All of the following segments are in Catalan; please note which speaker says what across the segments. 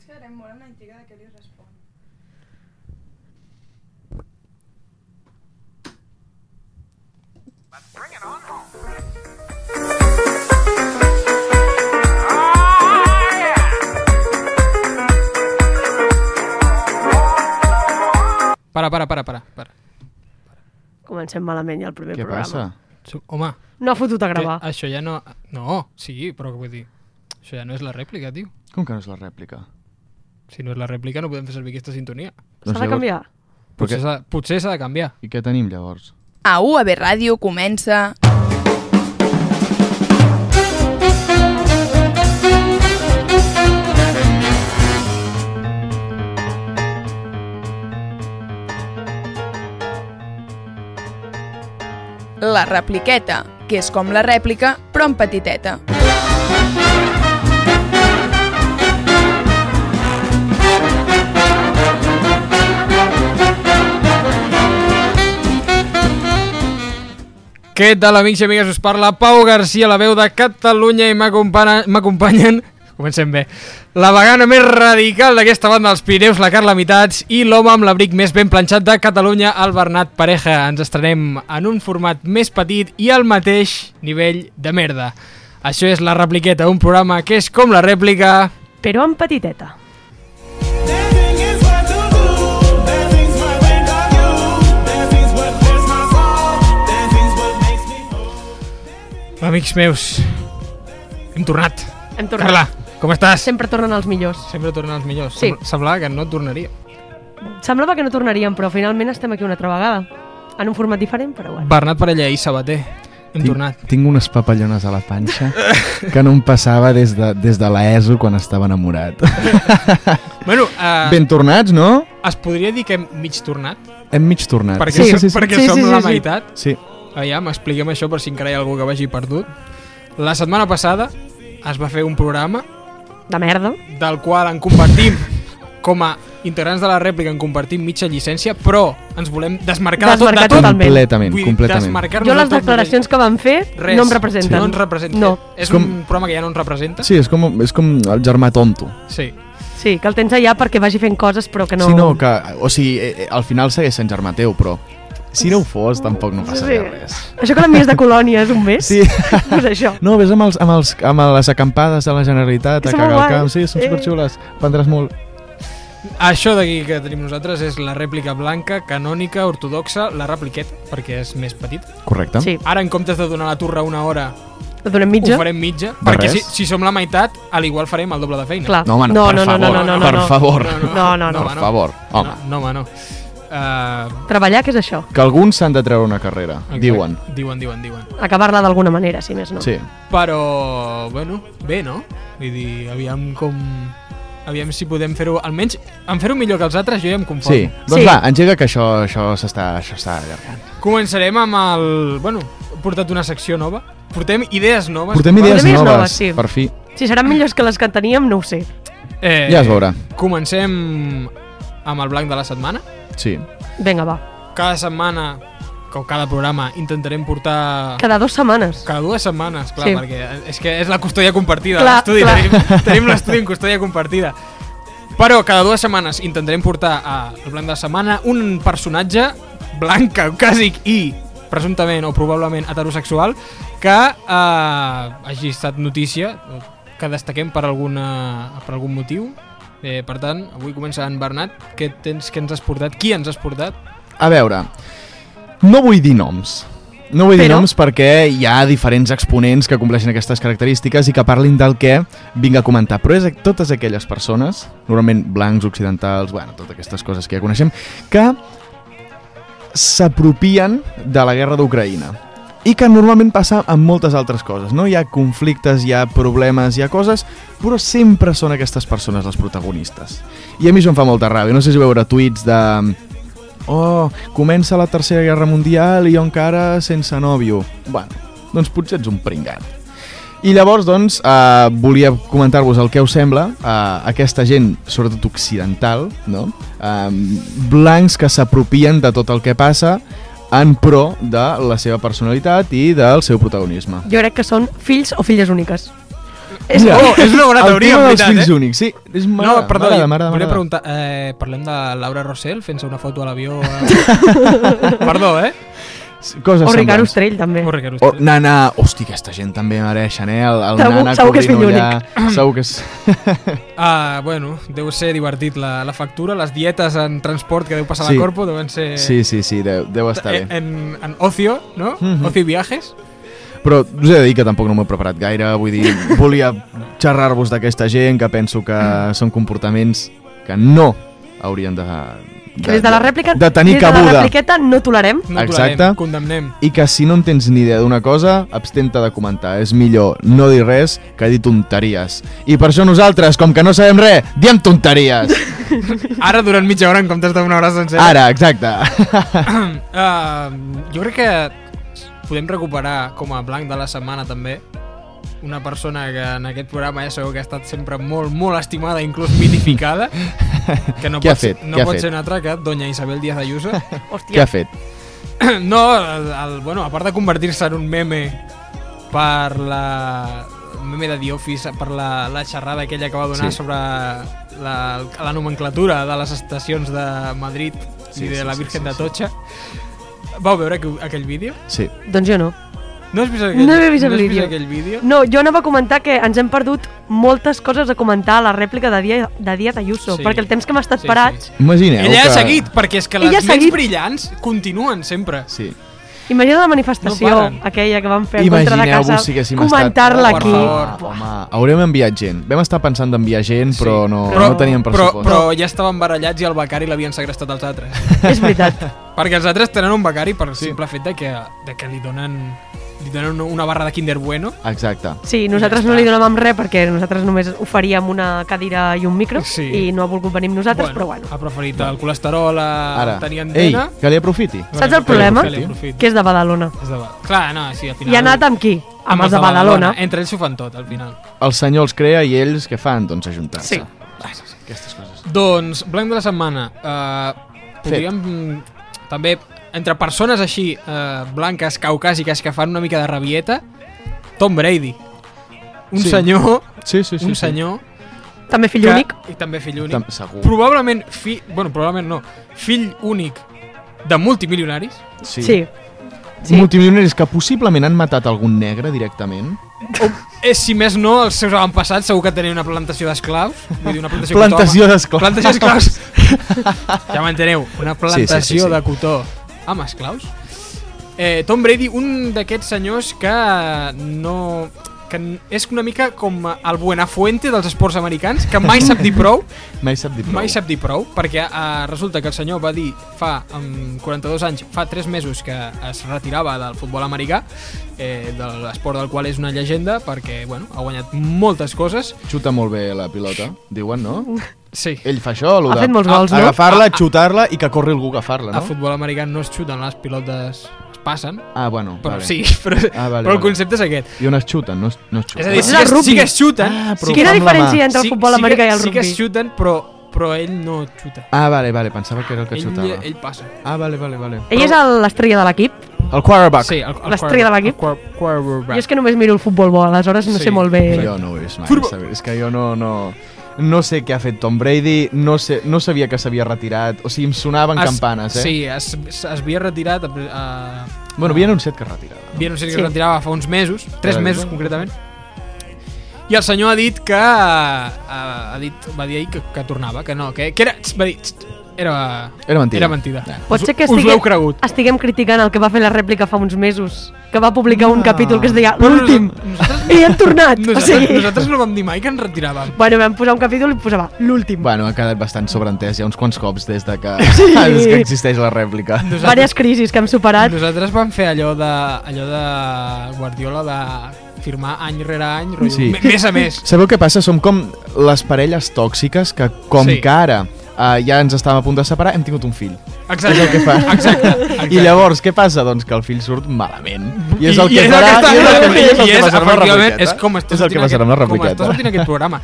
Speaker 1: Chandler en moral la intriga de que li respon.
Speaker 2: Para, para, para, para. para.
Speaker 3: Comencem malament ja el primer
Speaker 4: Què
Speaker 3: programa.
Speaker 4: passa?
Speaker 2: Su- Home,
Speaker 3: Passa? No ha fotut a
Speaker 2: que
Speaker 3: gravar.
Speaker 2: això ja no... No, sí, però què vull dir? Això ja no és la rèplica, tio.
Speaker 4: Com que no és la rèplica?
Speaker 2: Si no és la rèplica no podem fer servir aquesta sintonia.
Speaker 3: S'ha de canviar.
Speaker 2: Potser s'ha potser s'ha pues de canviar.
Speaker 4: I què tenim llavors?
Speaker 5: A UAB Ràdio comença... La repliqueta, que és com la rèplica, però en petiteta.
Speaker 2: Què tal, amics i amigues? Us parla Pau Garcia, la veu de Catalunya, i m'acompana- m'acompanyen... Comencem bé. La vegana més radical d'aquesta banda dels Pirineus, la Carla Mitats, i l'home amb l'abric més ben planxat de Catalunya, el Bernat Pareja. Ens estrenem en un format més petit i al mateix nivell de merda. Això és La Repliqueta, un programa que és com la rèplica...
Speaker 3: Però en petiteta.
Speaker 2: Amics meus, hem tornat.
Speaker 3: Hem tornat.
Speaker 2: Carla, com estàs?
Speaker 3: Sempre tornen els millors.
Speaker 2: Sempre tornen els millors.
Speaker 3: Sí.
Speaker 2: Sembla- Semblava que no tornaria.
Speaker 3: Semblava que no tornaríem, però finalment estem aquí una altra vegada. En un format diferent, però bueno.
Speaker 2: Bernat Parella i Sabater. Hem
Speaker 4: Tinc-
Speaker 2: tornat.
Speaker 4: Tinc unes papallones a la panxa que no em passava des de, des de l'ESO quan estava enamorat.
Speaker 2: Bueno, uh,
Speaker 4: Ben tornats, no?
Speaker 2: es podria dir que hem mig tornat,
Speaker 4: Hem mig tornat.
Speaker 2: perquè,
Speaker 3: Sí,
Speaker 2: sí,
Speaker 3: sí, sí.
Speaker 2: perquè
Speaker 3: Sí,
Speaker 2: som
Speaker 3: sí, sí,
Speaker 2: la
Speaker 3: sí.
Speaker 2: meitat.
Speaker 4: Sí,
Speaker 2: Aviam, expliquem això per si encara hi ha algú que vagi perdut. La setmana passada es va fer un programa
Speaker 3: De merda.
Speaker 2: del qual en compartim com a integrants de la rèplica en compartim mitja llicència, però ens volem desmarcar, de
Speaker 3: Desmarcar
Speaker 2: tot, de tot.
Speaker 3: totalment.
Speaker 4: completament,
Speaker 2: Vull dir,
Speaker 4: completament.
Speaker 2: desmarcar-nos
Speaker 3: Jo
Speaker 2: de
Speaker 3: les
Speaker 2: tot de
Speaker 3: declaracions que van fer
Speaker 2: Res.
Speaker 3: no em representen.
Speaker 2: No ens representen.
Speaker 3: No.
Speaker 2: És
Speaker 4: És com-
Speaker 2: un programa que ja no ens representa?
Speaker 4: Sí, és com, és com el germà tonto.
Speaker 2: sí.
Speaker 3: Sí, que el tens allà perquè vagi fent coses però que no...
Speaker 4: Si no, que, o sigui, eh, eh, al final segueix sent germà teu, però si no ho fos, tampoc no passaria
Speaker 3: Sí.
Speaker 4: res.
Speaker 3: Això que l'envies de colònia és un mes?
Speaker 4: Sí.
Speaker 3: Pues això.
Speaker 4: No, vés amb, els, amb, els, amb les acampades de la Generalitat
Speaker 3: És
Speaker 4: a cagar
Speaker 3: molt
Speaker 4: el camp.
Speaker 3: guai.
Speaker 4: Sí, són
Speaker 3: Eh.
Speaker 4: superxules. Prendràs molt.
Speaker 2: Això d'aquí que tenim nosaltres és la rèplica blanca, canònica, ortodoxa, la repliqueta, perquè és més petit.
Speaker 4: Correcte.
Speaker 3: Sí,
Speaker 2: Ara, en comptes de donar la turra una hora,
Speaker 3: et donem
Speaker 2: mitja?
Speaker 3: mitja.
Speaker 2: ho farem mitja.
Speaker 4: De
Speaker 2: perquè si,
Speaker 4: res.
Speaker 2: si som la meitat, al igual farem el doble de feina.
Speaker 3: Clar.
Speaker 4: No, home, no,
Speaker 3: no,
Speaker 4: per
Speaker 3: no,
Speaker 4: favor,
Speaker 3: no, no, no, no,
Speaker 4: per
Speaker 3: no.
Speaker 4: favor.
Speaker 3: No, no, no.
Speaker 2: home,
Speaker 4: Per favor, home.
Speaker 2: No, no, home, no. Uh,
Speaker 3: Treballar, que és això?
Speaker 4: Que alguns s'han de treure una carrera, diuen.
Speaker 2: Diuen, diuen, diuen.
Speaker 3: Acabar-la d'alguna manera, si més no.
Speaker 4: Sí.
Speaker 2: Però, bueno, bé, no? Vull dir, aviam com... Aviam si podem fer-ho... Almenys, en fer-ho millor que els altres, jo ja em conformo.
Speaker 4: Sí. Doncs
Speaker 3: Sí.
Speaker 4: va, engega que això això s'està això s'està allargant.
Speaker 2: Començarem amb el... Bueno, he portat una secció nova. Portem idees noves.
Speaker 4: Portem idees
Speaker 3: idees noves,
Speaker 4: noves,
Speaker 3: sí.
Speaker 4: per fi.
Speaker 3: Si seran millors que les que teníem, no ho sé.
Speaker 2: Eh,
Speaker 4: Ja es veurà.
Speaker 2: Comencem amb el blanc de la setmana.
Speaker 4: Sí.
Speaker 3: Vinga, va.
Speaker 2: Cada setmana, o cada programa, intentarem portar...
Speaker 3: Cada dues setmanes.
Speaker 2: Cada dues setmanes, clar,
Speaker 3: Sí.
Speaker 2: sí. perquè és que és la custòdia compartida,
Speaker 3: Clar,
Speaker 2: l'estudi.
Speaker 3: clar.
Speaker 2: Tenim, tenim l'estudi en custòdia compartida. Però cada dues setmanes intentarem portar a el blanc de la setmana un personatge blanc, caucàsic i presumptament o probablement heterosexual que eh, hagi estat notícia, que destaquem per, alguna, per algun motiu. Eh, per tant, avui comença en Bernat. Què, tens, què ens has portat? Qui ens has portat?
Speaker 4: A veure, no vull dir noms. No vull dir
Speaker 3: Però?
Speaker 4: noms perquè hi ha diferents exponents que compleixen aquestes característiques i que parlin del que vinc a comentar. Però és a- totes aquelles persones, normalment blancs, occidentals, bueno, totes aquestes coses que ja coneixem, que s'apropien de la guerra d'Ucraïna i que normalment passa amb moltes altres coses, no? Hi ha conflictes, hi ha problemes, hi ha coses, però sempre són aquestes persones les protagonistes. I a mi això em fa molta ràbia. No sé si veure tuits de... Oh, comença la Tercera Guerra Mundial i jo encara sense nòvio. Bueno, doncs potser ets un pringat. I llavors, doncs, eh, volia comentar-vos el que us sembla eh, aquesta gent, sobretot occidental, no? Eh, blancs que s'apropien de tot el que passa en pro de la seva personalitat i del seu protagonisme.
Speaker 3: Jo crec que són fills o filles úniques. És-
Speaker 4: Mira,
Speaker 2: Oh, és una bona teoria, en
Speaker 4: el tema dels
Speaker 2: veritat,
Speaker 4: fills
Speaker 2: eh?
Speaker 4: únics, sí. És mare,
Speaker 2: No, perdó,
Speaker 4: mare, de,
Speaker 2: jo
Speaker 4: mare, de, mare,
Speaker 2: volia
Speaker 4: de.
Speaker 2: preguntar, eh, parlem de Laura Rossell fent-se una foto a l'avió... eh? perdó, eh?
Speaker 4: Coses
Speaker 3: O Ricard
Speaker 4: semblants.
Speaker 3: Ostrell, també.
Speaker 2: Oh, Ricard
Speaker 4: O
Speaker 2: Ostrell.
Speaker 4: Nana... Hosti, aquesta gent també mereixen, eh? El, el
Speaker 3: Segur-
Speaker 4: Nana
Speaker 3: segur que és
Speaker 4: Corrino
Speaker 3: fill
Speaker 4: allà. Segur que és...
Speaker 2: Ah, bueno, deu ser divertit la, la factura, les dietes en transport que deu passar
Speaker 4: Sí.
Speaker 2: la Corpo deuen
Speaker 3: Eh.
Speaker 2: ser...
Speaker 4: Sí, sí, sí, deu, deu estar
Speaker 2: eh,
Speaker 4: bé.
Speaker 2: en, en ocio, no?
Speaker 4: Mhm.
Speaker 2: Ocio y viajes.
Speaker 3: eh.
Speaker 4: Però us he de dir que tampoc no m'ho he preparat gaire, vull dir, volia xerrar-vos d'aquesta gent que penso que són comportaments que no haurien de... de
Speaker 3: Que des de la rèplica...
Speaker 4: De tenir
Speaker 3: des Des de la
Speaker 4: cabuda.
Speaker 3: repliqueta no tolerem.
Speaker 2: No
Speaker 4: Exacte.
Speaker 2: tolerem, condemnem.
Speaker 4: I que si no en tens ni idea d'una cosa, abstenta de comentar. És millor no dir res que dir tonteries. I per això nosaltres, com que no sabem res, diem tonteries.
Speaker 2: Ara durant mitja hora en comptes d'una hora sencera.
Speaker 4: Ara, exacte.
Speaker 2: Ah, jo crec que podem recuperar com a blanc de la setmana també una persona que en aquest programa ja sabeu que ha estat sempre molt, molt estimada, inclús mitificada, que no
Speaker 4: Què ha
Speaker 2: pot, ser-
Speaker 4: fet?
Speaker 2: no
Speaker 4: Què ha
Speaker 2: pot
Speaker 4: fet?
Speaker 2: ser una altra que Doña Isabel Díaz Ayuso.
Speaker 4: Què
Speaker 3: Hòstia.
Speaker 4: ha fet?
Speaker 2: No, el, el, bueno, a part de convertir-se en un meme per la un meme de The Office, per la, la xerrada aquella que va donar
Speaker 4: Sí.
Speaker 2: sí. sobre la, la nomenclatura de les estacions de Madrid
Speaker 4: Sí,
Speaker 2: sí, i de
Speaker 4: sí,
Speaker 2: la
Speaker 4: sí,
Speaker 2: Virgen
Speaker 4: sí,
Speaker 2: sí, sí,
Speaker 4: sí.
Speaker 2: de Totxa. Vau veure aqu- aquell vídeo?
Speaker 4: Sí.
Speaker 3: Doncs jo no.
Speaker 2: No has vist aquell,
Speaker 3: No he vist
Speaker 2: no
Speaker 3: el
Speaker 2: has
Speaker 3: vídeo.
Speaker 2: aquell vídeo?
Speaker 3: No, jo anava a comentar que ens hem perdut moltes coses a comentar a la rèplica de Dia de Díaz Ayuso,
Speaker 2: Sí.
Speaker 3: sí. perquè el temps que hem estat
Speaker 2: Sí,
Speaker 3: sí, parats...
Speaker 4: Imagineu
Speaker 2: Ella
Speaker 4: que...
Speaker 2: ha seguit, perquè és que les
Speaker 3: Ella ha
Speaker 2: més
Speaker 3: seguit.
Speaker 2: brillants continuen sempre.
Speaker 4: Sí.
Speaker 3: Sí. Imagina la manifestació
Speaker 2: No paren.
Speaker 3: aquella que van fer contra la casa,
Speaker 4: Imagineu-vos si haguéssim
Speaker 3: comentar-la
Speaker 2: Per
Speaker 4: estat... Ah,
Speaker 3: aquí.
Speaker 2: favor.
Speaker 4: Home, home, haurem enviat gent. Vam estar pensant d'enviar gent,
Speaker 2: Sí.
Speaker 4: però no,
Speaker 3: Però-
Speaker 4: no teníem
Speaker 2: Però,
Speaker 4: pressupost.
Speaker 2: però ja estaven barallats i el becari l'havien segrestat els altres.
Speaker 3: És veritat.
Speaker 2: Perquè els altres tenen un becari per
Speaker 4: Sí.
Speaker 2: sí. simple fet de que, de que li donen, li donen una- una barra de Kinder Bueno.
Speaker 4: Exacte.
Speaker 3: Sí, nosaltres
Speaker 2: Ja
Speaker 3: no
Speaker 2: està.
Speaker 3: li donàvem res perquè nosaltres només oferíem una cadira i un micro
Speaker 2: Sí.
Speaker 3: i no ha volgut venir amb nosaltres, però bueno.
Speaker 2: Ha preferit el colesterol eh, a
Speaker 4: Ara,
Speaker 2: tenir
Speaker 4: ei,
Speaker 2: antena.
Speaker 4: que li aprofiti.
Speaker 3: Saps el problema?
Speaker 2: Que li aprofiti.
Speaker 3: Que és de Badalona.
Speaker 2: És de... Clar, no, sí, al final...
Speaker 3: I ha anat amb qui? Amb els de Badalona.
Speaker 2: Entre ells s'ho fan tot, al final.
Speaker 4: El senyor els crea i ells què fan? Doncs ajuntar-se.
Speaker 3: Sí.
Speaker 4: Aquestes coses.
Speaker 2: Doncs, blanc de la setmana. Uh, podríem... mm, També, entre persones així, uh, blanques, caucàsiques, que fan una mica de rabieta, Tom Brady. Un
Speaker 4: Sí.
Speaker 2: senyor...
Speaker 4: Sí, sí, sí.
Speaker 2: un
Speaker 4: sí.
Speaker 2: senyor...
Speaker 3: També fill únic.
Speaker 2: I també fill únic.
Speaker 4: Tam segur.
Speaker 2: Probablement fill... Bueno, probablement no. Fill únic de multimilionaris.
Speaker 4: Sí.
Speaker 3: Sí.
Speaker 4: sí. Multimilionaris que possiblement han matat algun negre directament.
Speaker 2: És, si més no, els seus avantpassats segur que tenien una plantació d'esclaus. Vull dir, una plantació, de
Speaker 4: Plantació
Speaker 2: cotó, home.
Speaker 4: d'esclaus.
Speaker 2: Plantació d'esclaus. ja m'enteneu. Una plantació
Speaker 4: Sí, sí, sí, sí.
Speaker 2: de cotó amb esclaus. Eh, Tom Brady, un d'aquests senyors que no que n- és una mica com el Buenafuente dels esports americans, que mai sap dir prou,
Speaker 4: Mai sap dir prou.
Speaker 2: Mai sap dir prou, perquè eh, resulta que el senyor va dir fa amb 42 anys, fa 3 mesos que es retirava del futbol americà, eh, de l'esport del qual és una llegenda, perquè bueno, ha guanyat moltes coses.
Speaker 4: Xuta molt bé la pilota, diuen, no?
Speaker 2: Sí,
Speaker 4: Ell fa això, allò
Speaker 3: Ha
Speaker 4: de
Speaker 3: fet molts gols,
Speaker 4: a-
Speaker 3: no?
Speaker 2: Ah,
Speaker 4: agafar-la, xutar-la i que corri algú a agafar-la,
Speaker 2: a
Speaker 4: no?
Speaker 2: futbol americà no es xuten, les pilotes es passen,
Speaker 4: Ah, bueno,
Speaker 2: però
Speaker 4: vale.
Speaker 2: sí, però,
Speaker 4: Ah, vale,
Speaker 2: però
Speaker 4: vale.
Speaker 2: el concepte és aquest.
Speaker 4: I on es xuten, no es, no es xuten.
Speaker 2: És a dir,
Speaker 3: Però
Speaker 2: sí
Speaker 3: és
Speaker 2: que, es-
Speaker 3: el
Speaker 2: sí
Speaker 3: rugby.
Speaker 2: que es xuten,
Speaker 4: Ah, però-
Speaker 2: sí, que,
Speaker 3: Quina
Speaker 4: amb la mà.
Speaker 3: diferència hi ha entre el futbol
Speaker 2: sí,
Speaker 3: americà
Speaker 2: que,
Speaker 3: i el
Speaker 2: sí que es
Speaker 3: rugby?
Speaker 2: xuten, però, però ell no xuta.
Speaker 4: Ah, vale, vale, pensava que era el que
Speaker 2: Ell,
Speaker 4: xutava.
Speaker 2: ell passa.
Speaker 4: Ah, vale, vale, vale.
Speaker 3: Ell és el- l'estrella de l'equip.
Speaker 4: El quarterback.
Speaker 2: Sí, el, el
Speaker 3: L'estrella de l'equip.
Speaker 2: quarter- el quarterback.
Speaker 3: Jo és que només miro el futbol bo, aleshores no
Speaker 2: Sí,
Speaker 3: sé molt bé...
Speaker 4: Jo no ho he vist mai,
Speaker 2: Futbol.
Speaker 4: saber. És que jo no... no... No sé què ha fet Tom Brady, no, sé, no sabia que s'havia retirat, o sigui, em sonaven
Speaker 2: Es-
Speaker 4: campanes, eh?
Speaker 2: Sí, es, es, es havia retirat... Eh,
Speaker 4: Bueno, havia anunciat que es retirava. no?
Speaker 2: havia anunciat que
Speaker 3: Sí.
Speaker 2: es retirava fa uns mesos, tres
Speaker 4: Ara
Speaker 2: mesos
Speaker 4: diuen.
Speaker 2: concretament. I el senyor ha dit que... eh, Ha, ha dit, va dir ahir que, que tornava, que no, que, que era... Va dir, era,
Speaker 4: Era mentida.
Speaker 2: Era mentida.
Speaker 4: Ja.
Speaker 3: Pot ser que
Speaker 2: Us- us
Speaker 3: estigui...
Speaker 2: l'heu cregut.
Speaker 3: estiguem criticant el que va fer la rèplica fa uns mesos, que va publicar un capítol que es deia
Speaker 2: Però
Speaker 3: l'últim,
Speaker 2: nosaltres-
Speaker 3: i han tornat. O
Speaker 2: Nosaltres,
Speaker 3: sigui,
Speaker 2: nosaltres no vam dir mai que ens retiràvem.
Speaker 3: bueno, vam posar un capítol i posava l'últim.
Speaker 4: Bueno, ha quedat bastant sobreentès ja uns quants cops des de que, des que existeix la rèplica.
Speaker 3: Vàries crisis que hem superat.
Speaker 2: Nosaltres vam fer allò de, allò de Guardiola de firmar any rere any, rotllo,
Speaker 4: Sí.
Speaker 2: sí. més a més.
Speaker 4: Sabeu què passa? Som com les parelles tòxiques que, com
Speaker 2: Sí.
Speaker 4: sí. que ara eh, ja ens estàvem a punt de separar, hem tingut un fill.
Speaker 2: Exacte.
Speaker 4: que fa.
Speaker 2: Exacte. exacte.
Speaker 4: I llavors, què passa? Doncs que el fill surt malament. I és el
Speaker 2: I
Speaker 4: que
Speaker 2: és
Speaker 4: farà...
Speaker 2: està-
Speaker 4: i és el que- i és el
Speaker 2: i
Speaker 4: que
Speaker 2: és,
Speaker 4: passarà amb la
Speaker 2: efectivament,
Speaker 4: repliqueta.
Speaker 2: És com està
Speaker 4: És el que passarà amb
Speaker 2: Com
Speaker 4: la
Speaker 2: està
Speaker 4: repliqueta.
Speaker 2: sortint aquest programa.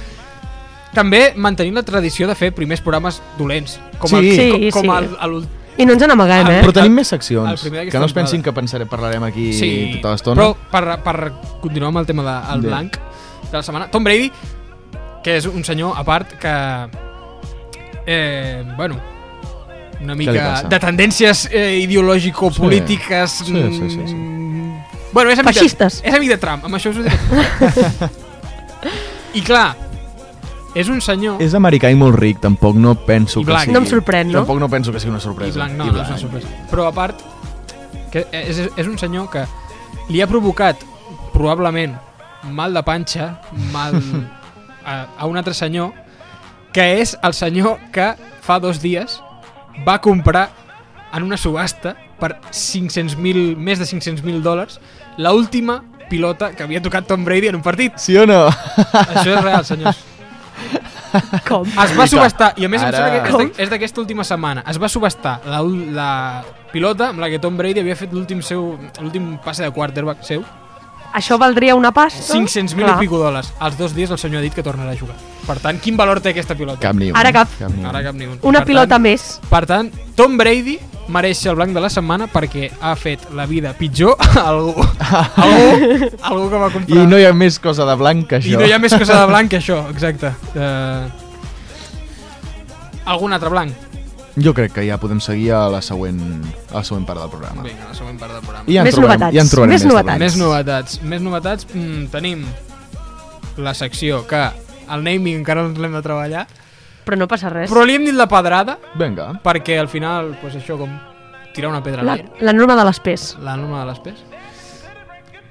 Speaker 2: També mantenint la tradició de fer primers programes dolents. Com
Speaker 4: Sí.
Speaker 2: el,
Speaker 4: Sí,
Speaker 2: com, com
Speaker 3: sí.
Speaker 2: El, el,
Speaker 3: I no ens n'amaguem,
Speaker 2: Ah,
Speaker 3: eh?
Speaker 4: Però
Speaker 2: El-
Speaker 4: tenim més
Speaker 2: el
Speaker 4: seccions,
Speaker 2: primer d'aquesta
Speaker 4: que no es pensin
Speaker 2: temporada.
Speaker 4: que pensaré, parlarem aquí
Speaker 2: sí,
Speaker 4: tota l'estona.
Speaker 2: però per, per continuar amb el tema del de, el
Speaker 4: Bé.
Speaker 2: blanc, de la setmana. Tom Brady, que és un senyor, a part, que... Eh, bueno, una
Speaker 4: li
Speaker 2: mica
Speaker 4: passa?
Speaker 2: de tendències eh, ideològico-polítiques...
Speaker 4: Sí, sí, sí, sí.
Speaker 2: mm, Bueno, és amic, de,
Speaker 3: Feixistes.
Speaker 2: és amic de Trump, amb això us ho diré. I clar, és un senyor...
Speaker 4: És americà i molt ric, tampoc no penso
Speaker 2: I
Speaker 4: que
Speaker 2: blanc.
Speaker 4: sigui...
Speaker 3: No em sorprèn, no?
Speaker 4: Tampoc no penso que sigui una
Speaker 2: I
Speaker 4: sorpresa.
Speaker 2: blanc, no, no és una sorpresa. Però a part, que és, és un senyor que li ha provocat, probablement, mal de panxa, mal a, a un altre senyor, que és el senyor que fa dos dies va comprar en una subhasta per 500.000, més de 500.000 dòlars, la última pilota que havia tocat Tom Brady en un partit.
Speaker 4: Sí o no?
Speaker 2: Això és real, senyors.
Speaker 3: Com?
Speaker 2: Es va subestar, i a més Ara...
Speaker 4: Ara.
Speaker 2: em sembla que és de- és d'aquesta última setmana, es va subestar la, ul- la pilota amb la que Tom Brady havia fet l'últim seu l'últim passe de quarterback seu,
Speaker 3: Això valdria una pasta?
Speaker 2: 500.000
Speaker 3: Doncs, Clar.
Speaker 2: i pico dòlars. Als dos dies el senyor ha dit que tornarà a jugar. Per tant, quin valor té aquesta pilota?
Speaker 4: Cap ni un.
Speaker 3: Ara cap.
Speaker 4: cap ni un.
Speaker 2: Ara cap ni un.
Speaker 3: Una
Speaker 2: per
Speaker 3: pilota
Speaker 2: tant,
Speaker 3: més.
Speaker 2: Per tant, Tom Brady mereix ser el blanc de la setmana perquè ha fet la vida pitjor a algú, a algú, a algú que va comprar.
Speaker 4: I no hi ha més cosa de blanc
Speaker 2: I
Speaker 4: que això.
Speaker 2: no hi ha més cosa de blanc que això, exacte. Uh, algun altre blanc?
Speaker 4: Jo crec que ja podem seguir a la següent, a la següent part del programa.
Speaker 2: Vinga, la següent part del programa.
Speaker 4: I ja en
Speaker 3: Més
Speaker 4: trobarem,
Speaker 3: novetats.
Speaker 4: Ja en trobarem
Speaker 3: Més
Speaker 4: més, de
Speaker 3: novetats.
Speaker 4: blancs.
Speaker 2: Més novetats. Més novetats. Mm, tenim la secció que el naming encara no l'hem de treballar,
Speaker 3: Però no passa res.
Speaker 2: però li hem dit la pedrada
Speaker 4: Vinga.
Speaker 2: perquè al final, pues això, com tirar una pedra a
Speaker 3: La,
Speaker 2: l'aire,
Speaker 3: la norma de les pes.
Speaker 2: la norma de les pes,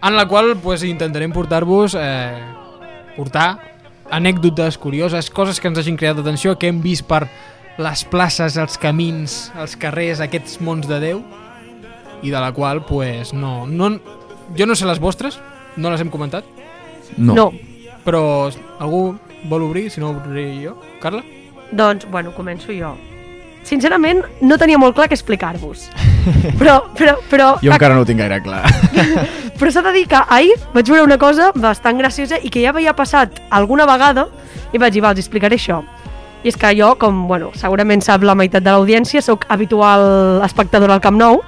Speaker 2: en la qual pues, intentarem portar-vos eh, portar anècdotes curioses, coses que ens hagin creat atenció, que hem vist per les places, els camins, els carrers, aquests mons de Déu, i de la qual, pues, no, no... Jo no sé les vostres, no les hem comentat,
Speaker 4: No.
Speaker 3: no.
Speaker 2: Però s- algú vol obrir, si no obriré jo. Carla?
Speaker 3: Doncs, bueno, començo jo. Sincerament, no tenia molt clar què explicar-vos. Però, però, però,
Speaker 4: Jo encara no ho tinc gaire clar.
Speaker 3: però s'ha de dir que ahir vaig veure una cosa bastant graciosa i que ja havia passat alguna vegada i vaig dir, va, els explicaré això. I és que jo, com bueno, segurament sap la meitat de l'audiència, sóc habitual espectador al Camp Nou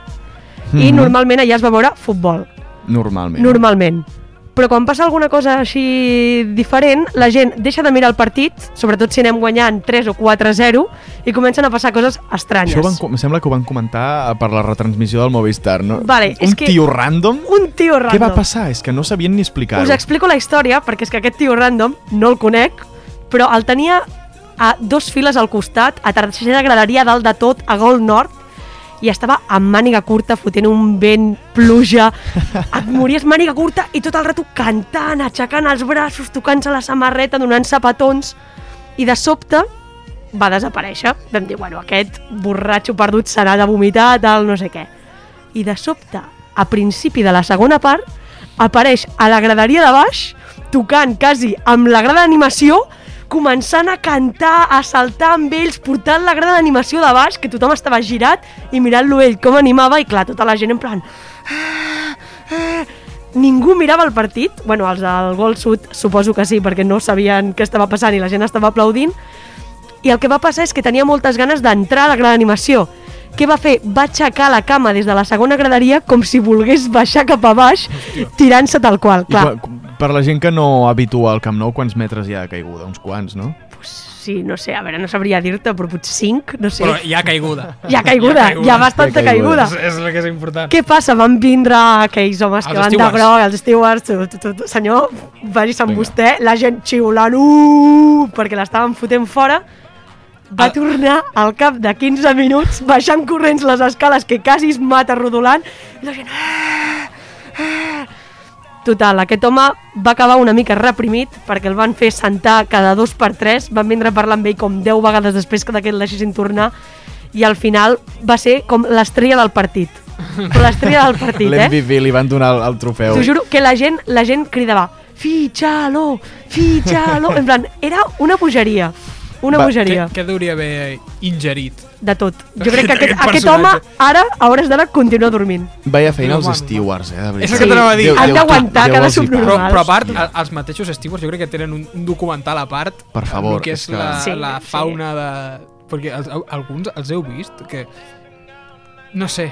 Speaker 3: i
Speaker 4: Mhm.
Speaker 3: normalment allà es va veure futbol.
Speaker 4: Normalment.
Speaker 3: Normalment. Però quan passa alguna cosa així diferent, la gent deixa de mirar el partit, sobretot si anem guanyant 3 o 4-0, i comencen a passar coses estranyes.
Speaker 4: Això van, com- em sembla que ho van comentar eh, per la retransmissió del Movistar, no?
Speaker 3: Vale,
Speaker 4: Un
Speaker 3: és que-
Speaker 4: tio random?
Speaker 3: Un tio random.
Speaker 4: Què va passar? És que no sabien ni explicar-ho.
Speaker 3: Us explico la història, perquè és que aquest tio random no el conec, però el tenia a dos files al costat, a tercera graderia a dalt de tot, a gol nord, i estava amb màniga curta, fotent un vent, pluja, et mories màniga curta i tot el rato cantant, aixecant els braços, tocant-se la samarreta, donant-se petons, i de sobte va desaparèixer. Vam dir, bueno, aquest borratxo perdut serà de vomitar, tal, no sé què. I de sobte, a principi de la segona part, apareix a la graderia de baix, tocant quasi amb la grada d'animació, començant a cantar, a saltar amb ells, portant la grada d'animació de baix, que tothom estava girat i mirant-lo ell com animava, i clar, tota la gent en plan... "Ah, ah". Ningú mirava el partit, bueno, els del Gol Sud suposo que sí, perquè no sabien què estava passant i la gent estava aplaudint, i el que va passar és que tenia moltes ganes d'entrar a la gran animació. Què va fer? Va aixecar la cama des de la segona graderia com si volgués baixar cap a baix, tirant-se tal qual.
Speaker 4: I
Speaker 3: Clar,
Speaker 4: quan- per la gent que no habitua al Camp Nou, quants metres hi ha de caiguda? Uns quants, no?
Speaker 3: pues, sí, no sé, a veure, no sabria dir-te, però potser 5, no sé.
Speaker 2: Però hi ha caiguda.
Speaker 3: Hi ha caiguda, hi ha bastanta
Speaker 4: Hi ha caiguda.
Speaker 3: caiguda.
Speaker 2: És, és el que és important.
Speaker 3: Què passa? Van vindre aquells homes
Speaker 2: Els
Speaker 3: que van de
Speaker 2: stewards.
Speaker 3: groc, els stewards, tu, tu, tu, tu, senyor, vagi amb
Speaker 4: Vinga.
Speaker 3: vostè, la gent xiulant, uuuh, perquè l'estaven fotent fora, va
Speaker 2: El-
Speaker 3: tornar al cap de 15 minuts baixant corrents les escales que quasi es mata rodolant i la gent... "Ah, ah". Total, aquest home va acabar una mica reprimit perquè el van fer sentar cada dos per tres, van vindre a parlar amb ell com 10 vegades després que d'aquest deixessin tornar i al final va ser com l'estrella del partit. Però l'estrella del partit, eh?
Speaker 4: L'MVP li van donar el, el trofeu.
Speaker 3: T'ho juro que la gent, la gent cridava fitxalo, fitxalo, en plan, era una bogeria, una
Speaker 4: Va,
Speaker 3: bogeria,
Speaker 2: Què deuria haver ingerit?
Speaker 3: de tot. Jo crec que
Speaker 2: Aquest- aquest
Speaker 3: aquest, aquest home
Speaker 2: personatge.
Speaker 3: ara, a hores d'ara, continua dormint.
Speaker 4: Vaya feina als
Speaker 2: Home,
Speaker 4: stewards, eh, de veritat.
Speaker 2: És el que t'anava a dir.
Speaker 4: Déu-
Speaker 2: Han
Speaker 4: Déu-
Speaker 3: d'aguantar
Speaker 4: Déu
Speaker 3: cada
Speaker 4: els hi pagui.
Speaker 2: Però,
Speaker 3: subnormal.
Speaker 2: però a part, a, els mateixos estius jo crec que tenen un, un documental a part
Speaker 4: Per favor,
Speaker 2: el que és,
Speaker 4: és que-
Speaker 2: la,
Speaker 3: Sí,
Speaker 2: la
Speaker 3: sí.
Speaker 2: fauna de... Perquè els, alguns els heu vist que... No sé,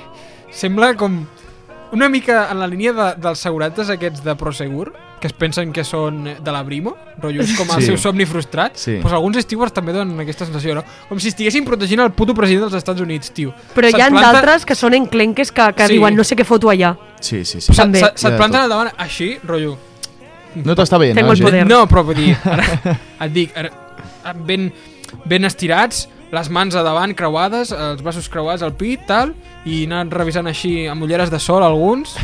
Speaker 2: sembla com... Una mica en la línia de, dels segurates aquests de Prosegur, que es pensen que són de la Brimo, rotllos com el
Speaker 4: Sí.
Speaker 2: seu somni frustrat,
Speaker 4: Sí.
Speaker 2: doncs alguns stewards també donen aquesta sensació, no? Com si estiguessin protegint el puto president dels Estats Units, tio.
Speaker 3: Però
Speaker 2: Se't
Speaker 3: hi ha
Speaker 2: planta-
Speaker 3: d'altres que són enclenques que, que
Speaker 2: Sí.
Speaker 3: diuen no sé què foto allà.
Speaker 4: Sí, sí, sí.
Speaker 2: se-
Speaker 3: també.
Speaker 2: se-
Speaker 4: Hi ha
Speaker 2: Se't
Speaker 4: de
Speaker 2: planten
Speaker 4: tot.
Speaker 2: al davant així, rotllo.
Speaker 4: No t'està veient,
Speaker 3: Tengo el
Speaker 4: eh, gent?
Speaker 3: poder.
Speaker 2: No, però vull dir, ara, et dic, ara, ben, ben estirats, les mans a davant creuades, els braços creuats al pit, tal, i anant revisant així amb ulleres de sol alguns.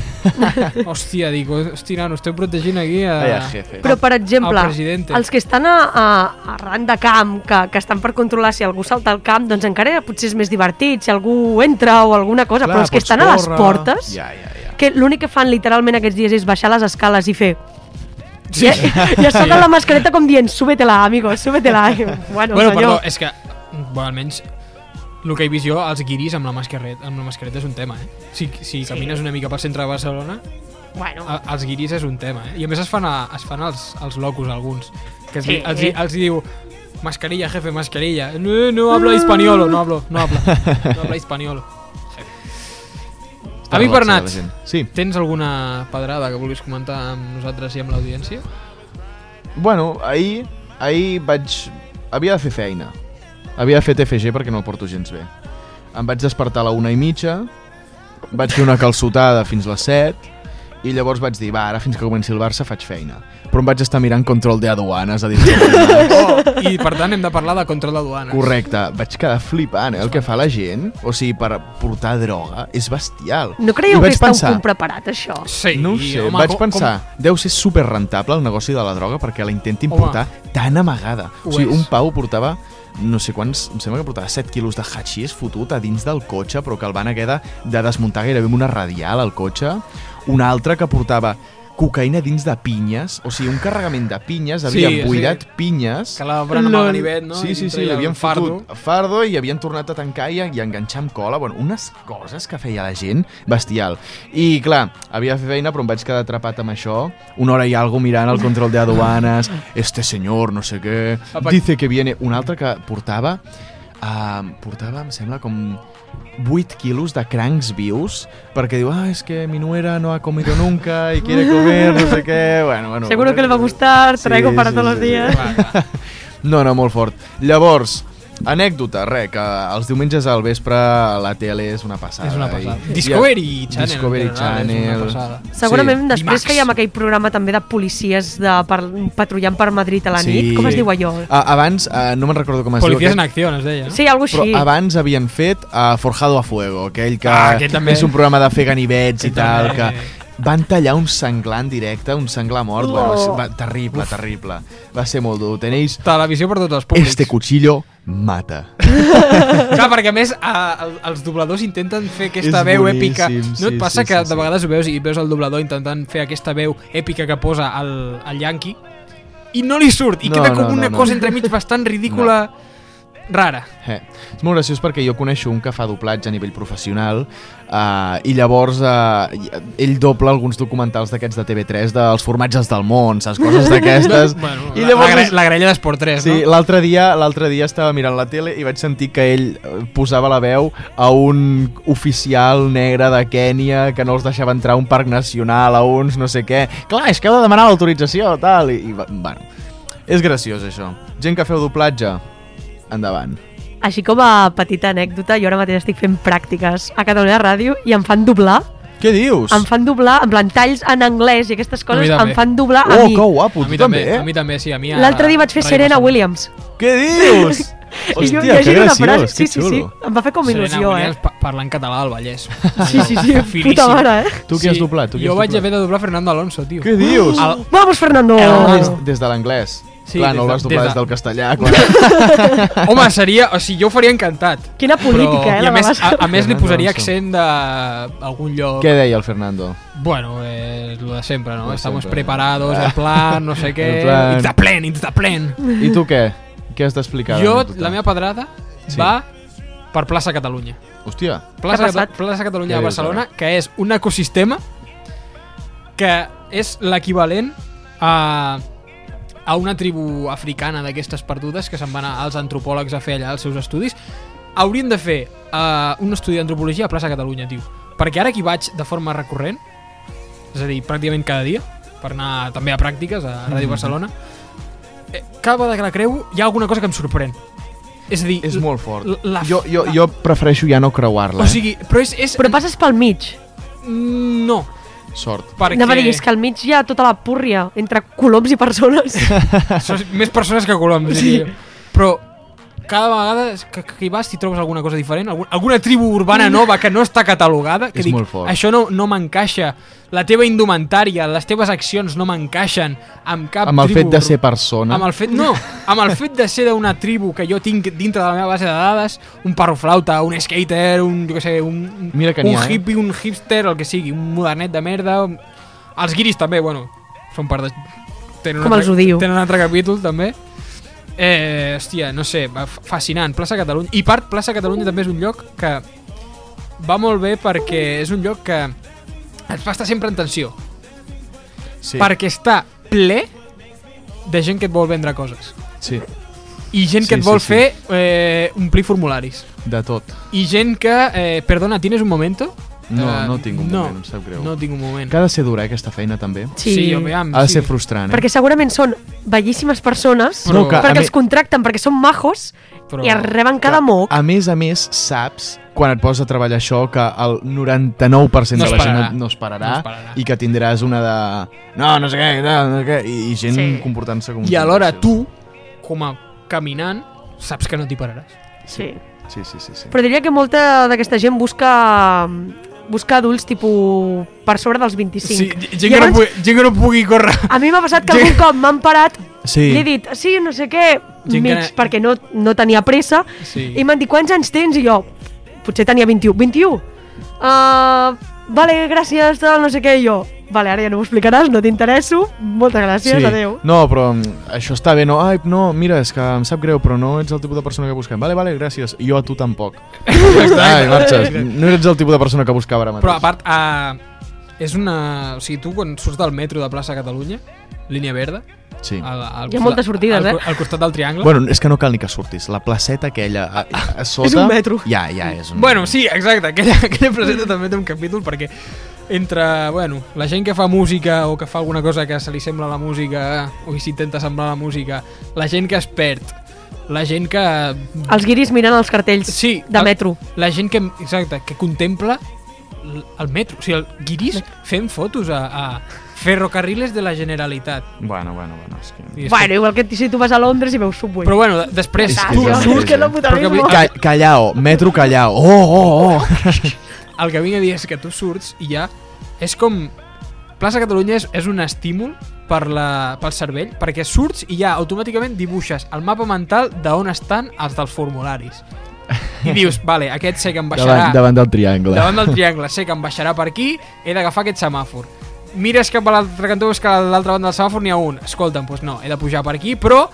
Speaker 2: hòstia, dic, hòstia, no, estem protegint aquí a...
Speaker 4: Vaya jefe.
Speaker 3: Però, per exemple,
Speaker 2: el presidente.
Speaker 3: els que estan a, a, arran de camp, que, que estan per controlar si algú salta al camp, doncs encara potser és més divertit, si algú entra o alguna cosa,
Speaker 4: Clar,
Speaker 3: però els que
Speaker 4: pots
Speaker 3: estan a les
Speaker 4: córrer.
Speaker 3: portes,
Speaker 4: Ja, ja, ja.
Speaker 3: que l'únic que fan literalment aquests dies és baixar les escales i fer... Sí. I, i a sota la mascareta com dient, súbetela, amigo, súbetela. I, Bueno,
Speaker 2: bueno, perdó,
Speaker 4: eh,
Speaker 3: senyor,
Speaker 2: és que, bueno, almenys el que he vist jo, els guiris amb la mascareta, amb la mascareta és un tema, eh? Si, si camines una mica pel centre de Barcelona,
Speaker 3: bueno,
Speaker 4: ah,
Speaker 2: a- els guiris és un tema, eh? I a més es fan, a, es fan els, els locos, alguns, que es,
Speaker 3: Sí.
Speaker 2: sí. els, hi- els hi diu mascarilla, jefe, mascarilla. No, no hablo hispaniolo, no hablo, no hablo, no hablo hispaniolo.
Speaker 4: Està
Speaker 2: Avi
Speaker 4: relaxada la
Speaker 2: Bernats,
Speaker 4: gent. Sí.
Speaker 2: tens alguna pedrada que vulguis comentar amb nosaltres i amb l'audiència?
Speaker 4: Bueno, ahir, ahir vaig... Havia de fer feina. Havia de fer TFG perquè no el porto gens bé. Em vaig despertar a la una i mitja, vaig fer una calçotada fins les 7 i llavors vaig dir, va, ara fins que comenci el Barça faig feina. Però em vaig estar mirant control de aduanes a dins
Speaker 2: Oh, I per tant hem de parlar de control de duanes.
Speaker 4: Correcte, vaig quedar flipant, eh, el que fa la gent. O sigui, per portar droga és bestial.
Speaker 3: no
Speaker 4: I
Speaker 3: creieu que
Speaker 4: vaig
Speaker 3: està
Speaker 4: pensar,
Speaker 3: un punt preparat, això?
Speaker 2: Sí,
Speaker 4: No ho sé,
Speaker 2: home,
Speaker 4: vaig
Speaker 2: com-
Speaker 4: pensar, deu ser super rentable el negoci de la droga perquè la intentin
Speaker 2: Home.
Speaker 4: portar tan amagada.
Speaker 2: Ho
Speaker 4: O sigui,
Speaker 2: és.
Speaker 4: un pau portava no sé quants, em sembla que portava 7 quilos de hachís fotut a dins del cotxe, però que el van haver de, de desmuntar gairebé amb una radial al cotxe. Un altre que portava cocaïna dins de pinyes, o sigui, un carregament de pinyes, havien
Speaker 2: Sí,
Speaker 4: sí,
Speaker 2: sí.
Speaker 4: buidat pinyes.
Speaker 2: Que la obren amb el ganivet, no?
Speaker 4: Sí,
Speaker 2: I
Speaker 4: sí, sí,
Speaker 2: traia el
Speaker 4: l'havien
Speaker 2: fardo.
Speaker 4: fotut a fardo i havien tornat a tancar i, i a enganxar amb cola. Bueno, unes coses que feia la gent bestial. I, clar, havia de fer feina, però em vaig quedar atrapat amb això. Una hora i algo mirant el control de aduanes, este señor, no sé què,
Speaker 2: Apa.
Speaker 4: dice que viene... Un altre que portava... Uh, portava, em sembla, com 8 quilos de crancs vius perquè diu, ah, és que mi nuera no ha comido nunca y quiere comer, no sé què... Bueno, bueno,
Speaker 3: Seguro que le va a gustar, traigo para todos los días.
Speaker 2: Va, va.
Speaker 4: no, no, molt fort. Llavors, anècdota, res, que els diumenges al vespre la tele és una passada.
Speaker 2: És una passada.
Speaker 4: I-
Speaker 2: Discovery Channel,
Speaker 4: Discovery
Speaker 2: en general, és
Speaker 4: Channel.
Speaker 2: una passada.
Speaker 3: Segurament sí. després
Speaker 2: Dimarts.
Speaker 3: fèiem aquell programa també de policies de per, patrullant per Madrid a la
Speaker 4: Sí.
Speaker 3: nit. Com es diu allò?
Speaker 4: A, abans, uh, no me'n recordo com es
Speaker 2: Policies en
Speaker 4: diu.
Speaker 2: acció, es deia. no?
Speaker 3: Sí, algo
Speaker 4: Però
Speaker 3: així.
Speaker 4: abans havien fet uh, Forjado a Fuego, aquell que
Speaker 2: Ah, aquest també.
Speaker 4: és un programa de fer ganivets i
Speaker 2: Aquest
Speaker 4: tal,
Speaker 2: també.
Speaker 4: que van tallar un senglar en directe, un senglar mort, bueno, va
Speaker 3: Oh.
Speaker 4: ser, va, terrible, terrible. Va ser molt dur. Tenéis
Speaker 2: Televisió per tots els públics.
Speaker 4: Este cuchillo mata.
Speaker 2: Clar, perquè a més a, el, els dobladors intenten fer aquesta
Speaker 4: És
Speaker 2: veu
Speaker 4: boníssim,
Speaker 2: èpica.
Speaker 4: sí,
Speaker 2: No et passa
Speaker 4: sí,
Speaker 2: que
Speaker 4: sí,
Speaker 2: de
Speaker 4: sí.
Speaker 2: vegades ho veus i veus el doblador intentant fer aquesta veu èpica que posa el, el Yankee i no li surt, i
Speaker 4: No,
Speaker 2: queda com
Speaker 4: no, no,
Speaker 2: una
Speaker 4: no.
Speaker 2: cosa entremig bastant ridícula, rara.
Speaker 4: Eh, és molt graciós perquè jo coneixo un que fa doblatge a nivell professional eh, i llavors eh, i- ell dobla alguns documentals d'aquests de TV3 dels formatges del món, saps? Coses d'aquestes.
Speaker 2: Bueno,
Speaker 4: I
Speaker 2: I la,
Speaker 4: llavors
Speaker 2: gre-
Speaker 4: és-
Speaker 2: la grella d'Esport 3,
Speaker 4: Sí,
Speaker 2: no?
Speaker 4: l'altre dia l'altre dia estava mirant la tele i vaig sentir que ell eh, posava la veu a un oficial negre de Kènia que no els deixava entrar a un parc nacional, a uns no sé què. Clar, és que heu de demanar l'autorització, tal, i, i va- bueno. És graciós, això. Gent que feu doblatge, endavant.
Speaker 3: Així com a petita anècdota, jo ara mateix estic fent pràctiques a Catalunya Ràdio i em fan doblar,
Speaker 4: Què dius?
Speaker 3: em fan doblar, en plan talls en anglès i aquestes
Speaker 2: A mi
Speaker 3: coses
Speaker 2: també.
Speaker 3: em fan doblar a
Speaker 4: Oh,
Speaker 3: mi.
Speaker 4: que guapo,
Speaker 2: A mi
Speaker 4: tu
Speaker 2: també,
Speaker 4: també, eh?
Speaker 2: a mi també, sí, a mi... a-
Speaker 3: L'altre dia vaig fer
Speaker 2: a la
Speaker 3: Serena
Speaker 2: Barcelona.
Speaker 3: Williams.
Speaker 4: Què dius?
Speaker 3: I jo
Speaker 4: Hòstia, que
Speaker 3: llegint una
Speaker 4: graciós,
Speaker 3: frase-
Speaker 4: que
Speaker 3: sí, sí, sí,
Speaker 4: xulo.
Speaker 3: em va fer com
Speaker 2: Serena
Speaker 3: il·lusió, eh?
Speaker 2: Williams pa- parlant català al Vallès.
Speaker 3: Sí, sí, sí,
Speaker 2: Finíssim.
Speaker 3: puta mare, eh?
Speaker 4: Tu què has doblat? Tu qui
Speaker 2: jo
Speaker 4: has
Speaker 2: vaig
Speaker 4: doblat?
Speaker 2: haver de doblar Fernando Alonso, tio.
Speaker 4: Què dius?
Speaker 2: El,
Speaker 3: Vamos, Fernando!
Speaker 2: El-
Speaker 4: Des, des de l'anglès.
Speaker 2: Ah, Sí,
Speaker 4: Clar,
Speaker 2: des
Speaker 4: no
Speaker 2: de-
Speaker 4: ho vas doblar
Speaker 2: des de-
Speaker 4: des del castellà. Quan...
Speaker 2: home, seria... O sigui, jo ho faria encantat.
Speaker 3: Quina política, eh,
Speaker 2: i
Speaker 3: la
Speaker 2: a més,
Speaker 3: Babasa.
Speaker 2: a, a més li
Speaker 4: Fernando
Speaker 2: posaria
Speaker 4: Alonso.
Speaker 2: accent d'algun lloc...
Speaker 4: què deia el Fernando?
Speaker 2: Bueno, eh, lo de sempre,
Speaker 4: Lo
Speaker 2: ¿no?
Speaker 4: de
Speaker 2: Estamos
Speaker 4: sempre. Ah.
Speaker 2: preparados, en plan, no sé
Speaker 4: En
Speaker 2: què...
Speaker 4: plan.
Speaker 2: It's the plan, it's the plan.
Speaker 4: I tu què? Què has d'explicar?
Speaker 2: Jo,
Speaker 4: d'anècdota?
Speaker 2: la meva pedrada
Speaker 4: Sí.
Speaker 2: va per Plaça Catalunya.
Speaker 4: Hòstia,
Speaker 2: Plaça,
Speaker 3: Què ha passat?
Speaker 2: Cata- Plaça Catalunya de
Speaker 4: Què dius,
Speaker 2: Barcelona, que és un ecosistema que és l'equivalent a, a una tribu africana d'aquestes perdudes que se'n van a- als antropòlegs a fer allà els seus estudis. Haurien de fer uh, un estudi d'antropologia a Plaça Catalunya, tio. Perquè ara que hi vaig de forma recurrent, és a dir, pràcticament cada dia, per anar també a pràctiques a
Speaker 4: Mhm.
Speaker 2: Ràdio Barcelona. Eh, Cada vegada que la creu hi ha alguna cosa que em sorprèn. És a dir...
Speaker 4: És
Speaker 2: l-
Speaker 4: molt fort.
Speaker 2: La,
Speaker 4: Jo, jo, jo prefereixo ja no creuar-la, eh?
Speaker 2: O sigui, però és... és
Speaker 3: Però passes pel mig.
Speaker 2: Mm, No,
Speaker 4: eh? Sort.
Speaker 2: perquè...
Speaker 3: Anava a dir, és que al mig hi ha tota la púrria entre coloms i persones.
Speaker 2: Són més persones que coloms, diria jo. Però cada vegada és que, que hi vas t'hi trobes alguna cosa diferent, alguna, alguna tribu urbana nova que no està catalogada, que
Speaker 4: És
Speaker 2: dic,
Speaker 4: molt fort.
Speaker 2: això no, no m'encaixa, la teva indumentària, les teves accions no m'encaixen amb cap
Speaker 4: Amb el
Speaker 2: tribu
Speaker 4: fet de ser
Speaker 2: ur-
Speaker 4: persona.
Speaker 2: amb el fet, no, amb el fet de ser d'una tribu que jo tinc dintre de la meva base de dades, un parroflauta, un skater, un, jo què sé, un,
Speaker 4: Mira que n'hi
Speaker 2: un
Speaker 4: ha, eh?
Speaker 2: hippie, un hipster, el que sigui, un modernet de merda, un... els guiris també, bueno, són part de... Tenen un
Speaker 3: Com
Speaker 2: altre-
Speaker 3: els odio.
Speaker 2: Tenen un altre capítol, també. Eh, hòstia, no sé, va- fa- fascinant, plaça Catalunya. I part, plaça Catalunya també és un lloc que va molt bé perquè és un lloc que ens fa estar sempre en tensió.
Speaker 4: Sí,
Speaker 2: Perquè està ple de gent que et vol vendre coses.
Speaker 4: sí,
Speaker 2: I gent
Speaker 4: Sí,
Speaker 2: que et
Speaker 4: sí,
Speaker 2: vol
Speaker 4: sí.
Speaker 2: fer eh, omplir formularis.
Speaker 4: de tot.
Speaker 2: I gent que... Eh, perdona, ¿tienes un momento?
Speaker 4: No,
Speaker 2: Eh,
Speaker 4: no tinc un
Speaker 2: no,
Speaker 4: moment, em sap greu.
Speaker 2: No tinc un moment.
Speaker 4: Que ha de ser dura, eh, aquesta feina, també.
Speaker 2: Sí, sí aviam,
Speaker 4: Ha de
Speaker 2: sí.
Speaker 4: ser frustrant, eh?
Speaker 3: Perquè segurament són bellíssimes persones,
Speaker 2: No, que a
Speaker 3: perquè
Speaker 4: mi-
Speaker 3: els contracten, perquè són majos,
Speaker 2: Però-
Speaker 3: i es reben cada moc.
Speaker 4: A més a més, saps, quan et poses a treballar això, que el
Speaker 2: No
Speaker 4: 99% de
Speaker 2: es
Speaker 4: la gent
Speaker 2: pararà.
Speaker 4: no, no, es pararà,
Speaker 2: No es pararà.
Speaker 4: i que tindràs una de... No, no sé què, no, no sé què, i, i gent
Speaker 3: Sí.
Speaker 4: comportant-se com...
Speaker 2: I
Speaker 4: uns
Speaker 2: alhora
Speaker 4: imbècils.
Speaker 2: tu, com a caminant, saps que no t'hi pararàs.
Speaker 3: Sí.
Speaker 4: Sí, sí, sí. sí.
Speaker 3: Però diria que molta d'aquesta gent busca busca adults tipus per sobre dels 25. I abans,
Speaker 2: gent que no pugui córrer.
Speaker 3: a mi m'ha passat que algun cop m'han parat
Speaker 4: Sí.
Speaker 3: i he dit, sí, no sé què,
Speaker 2: Gent que
Speaker 3: mig,
Speaker 2: era-
Speaker 3: perquè no, no tenia pressa,
Speaker 2: Sí.
Speaker 3: i m'han dit, quants anys tens? I jo, potser tenia 21. 21? Uh, vale, gràcies, tal, no sé què, i jo. Vale, ara ja no m'ho explicaràs, no t'interesso, moltes gràcies, adeu.
Speaker 4: No, però mm, això està bé, no? Ai, no, mira, és que em sap greu, però no ets el tipus de persona que busquem. Vale, vale, gràcies. Jo a tu tampoc. Ai, marxes. No eres el tipus de persona que buscava ara mateix.
Speaker 2: Però a part, uh, és una... O sigui, tu quan surts del metro de plaça Catalunya, línia verda,
Speaker 4: Sí.
Speaker 2: al, al
Speaker 3: Hi ha
Speaker 2: costat-
Speaker 3: moltes sortides,
Speaker 2: al,
Speaker 3: eh?
Speaker 2: Al costat del triangle.
Speaker 4: Bueno, és que no cal ni que surtis. La placeta aquella a, a, a sota...
Speaker 3: És un metro.
Speaker 4: Ja, ja, és un...
Speaker 2: Mm. Bueno, sí, exacte, aquella, aquella placeta també té un capítol perquè entre, bueno, la gent que fa música o que fa alguna cosa que se li sembla a la música o que s'intenta semblar a la música, la gent que es perd, la gent que...
Speaker 3: Els guiris mirant els cartells
Speaker 2: Sí,
Speaker 3: de
Speaker 2: el-
Speaker 3: metro.
Speaker 2: La gent que, exacte, que contempla l- el metro, o sigui, el guiris fent fotos a, a ferrocarriles de la Generalitat.
Speaker 4: Bueno, bueno, bueno, és que...
Speaker 2: I és
Speaker 3: Bueno, igual que si tu vas a Londres i veus Subway.
Speaker 2: Però bueno, de- després
Speaker 4: És que
Speaker 2: tu
Speaker 4: és el
Speaker 2: surts,
Speaker 4: mateix, eh?
Speaker 2: però que, vull-
Speaker 4: Ca callao, metro callao. Oh, oh, oh.
Speaker 2: el que vinc a dir és que tu surts i ja és com... Plaça Catalunya és, és un estímul per la, pel cervell, perquè surts i ja automàticament dibuixes el mapa mental de on estan els dels formularis. I dius, vale, aquest sé que em baixarà
Speaker 4: Davant, davant del triangle.
Speaker 2: davant del triangle, sé que em baixarà per aquí, he d'agafar aquest semàfor. Mires cap a l'altre cantó, veus que a l'altra banda del semàfor n'hi ha un. Escolta'm, doncs no, he de pujar per aquí, però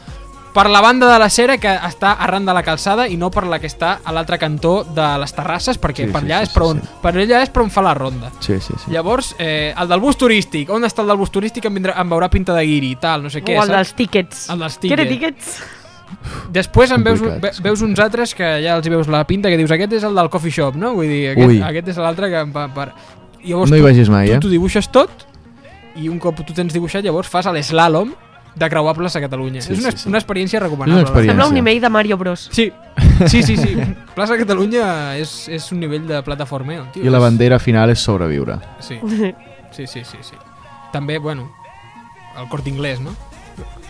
Speaker 2: per la banda de la cera que està arran de la calçada i no per la que està a l'altre cantó de les terrasses, perquè
Speaker 4: Sí,
Speaker 2: sí, per
Speaker 4: sí,
Speaker 2: allà
Speaker 4: sí,
Speaker 2: sí, és per
Speaker 4: sí,
Speaker 2: on,
Speaker 4: sí.
Speaker 2: sí. per allà és per on fa la ronda.
Speaker 4: Sí, sí, sí.
Speaker 2: Llavors, eh, el del bus turístic, on està el del bus turístic em, vindrà, em veurà pinta de guiri i tal, no sé què,
Speaker 3: o el
Speaker 2: saps?
Speaker 3: dels tíquets.
Speaker 2: El dels
Speaker 3: Que era
Speaker 2: tiquets.
Speaker 3: tíquets?
Speaker 2: Després en veus,
Speaker 4: Complicat,
Speaker 2: ve,
Speaker 4: és
Speaker 2: veus uns altres que ja els hi veus la pinta, que dius, aquest és el del coffee shop, no? Vull dir,
Speaker 4: Ui.
Speaker 2: aquest, aquest és l'altre que... em va Per... Llavors,
Speaker 4: No hi
Speaker 2: tu-
Speaker 4: vagis mai,
Speaker 2: tu
Speaker 4: eh?
Speaker 2: t'ho dibuixes tot i un cop tu tens dibuixat llavors fas l'eslàlom de creuar plaça Catalunya.
Speaker 4: Sí,
Speaker 2: és una,
Speaker 4: sí, sí.
Speaker 2: una experiència recomanable.
Speaker 4: És una experiència.
Speaker 3: Sembla un nivell de Mario Bros.
Speaker 2: Sí, sí, sí. sí. plaça Catalunya és, és un nivell de plataformeo, tio.
Speaker 4: I la
Speaker 2: És-
Speaker 4: bandera final és sobreviure.
Speaker 2: Sí, sí, sí, sí, sí. També, bueno, el cort inglès, no?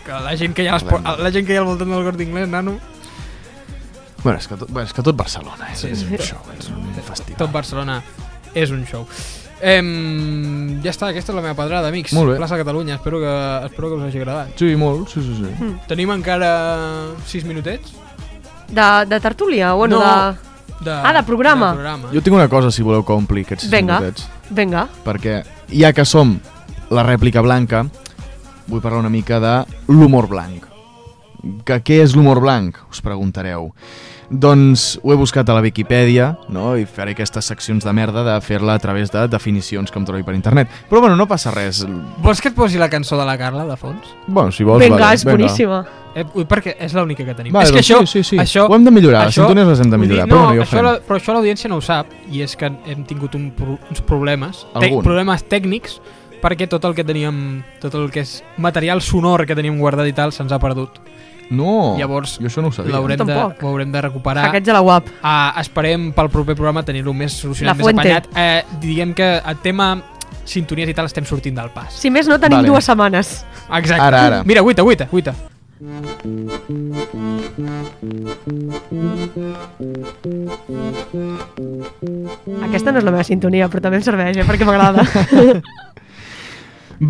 Speaker 2: Que la gent que hi ha, a les por- la gent que hi ha al voltant del cort inglès, nano,
Speaker 4: Bueno, és que tot, bueno, és que tot Barcelona és,
Speaker 2: Sí,
Speaker 4: és
Speaker 2: sí.
Speaker 4: un show, és un festival.
Speaker 2: tot Barcelona és un show. Em, ja està, aquesta és la meva pedrada, amics.
Speaker 4: Molt bé.
Speaker 2: Plaça Catalunya, espero que, espero que us hagi agradat.
Speaker 4: Sí, molt, sí, sí, sí.
Speaker 2: Tenim encara 6 minutets?
Speaker 3: De, de tertúlia? Bueno,
Speaker 2: No.
Speaker 3: de...
Speaker 2: De,
Speaker 3: Ah, de programa.
Speaker 2: De programa.
Speaker 4: Jo tinc una cosa, si voleu que ompli aquests sis
Speaker 3: Vinga.
Speaker 4: minutets.
Speaker 3: Vinga.
Speaker 4: Perquè, ja que som la rèplica blanca, vull parlar una mica de l'humor blanc. Que què és l'humor blanc, us preguntareu. Doncs ho he buscat a la Viquipèdia, no? I faré aquestes seccions de merda de fer-la a través de definicions que em trobi per internet. Però bueno, no passa res.
Speaker 2: Vols que et posi la cançó de la Carla, de fons?
Speaker 4: Bueno, si vols...
Speaker 3: Vinga,
Speaker 4: vale,
Speaker 3: és boníssima.
Speaker 2: Eh, ui, perquè és l'única que tenim.
Speaker 4: Vale,
Speaker 2: és que això,
Speaker 4: doncs sí, sí, sí.
Speaker 2: això...
Speaker 4: Ho hem de millorar, les sintonies les hem de
Speaker 2: vull
Speaker 4: millorar,
Speaker 2: Dir,
Speaker 4: però
Speaker 2: no,
Speaker 4: bueno, ja ho
Speaker 2: això
Speaker 4: farem.
Speaker 2: la, però això l'audiència no ho sap, i és que hem tingut un, pro- uns problemes, tec-
Speaker 4: Algun.
Speaker 2: problemes tècnics, perquè tot el que teníem, tot el que és material sonor que teníem guardat i tal, se'ns ha perdut.
Speaker 4: No,
Speaker 2: Llavors,
Speaker 4: jo això no ho sabia.
Speaker 2: L'haurem de,
Speaker 3: Tampoc.
Speaker 2: ho haurem de recuperar.
Speaker 3: Aquests a la UAP.
Speaker 2: Ah, esperem pel proper programa tenir-ho més solucionat,
Speaker 3: La
Speaker 2: més
Speaker 3: fuente.
Speaker 2: apanyat. Eh, diguem que el tema sintonies i tal estem sortint del pas.
Speaker 3: Si més no, tenim
Speaker 4: Vale.
Speaker 3: dues setmanes.
Speaker 2: Exacte.
Speaker 4: Ara, ara.
Speaker 2: Mira, guita, guita, guita.
Speaker 3: Aquesta no és la meva sintonia, però també em serveix, eh, perquè m'agrada.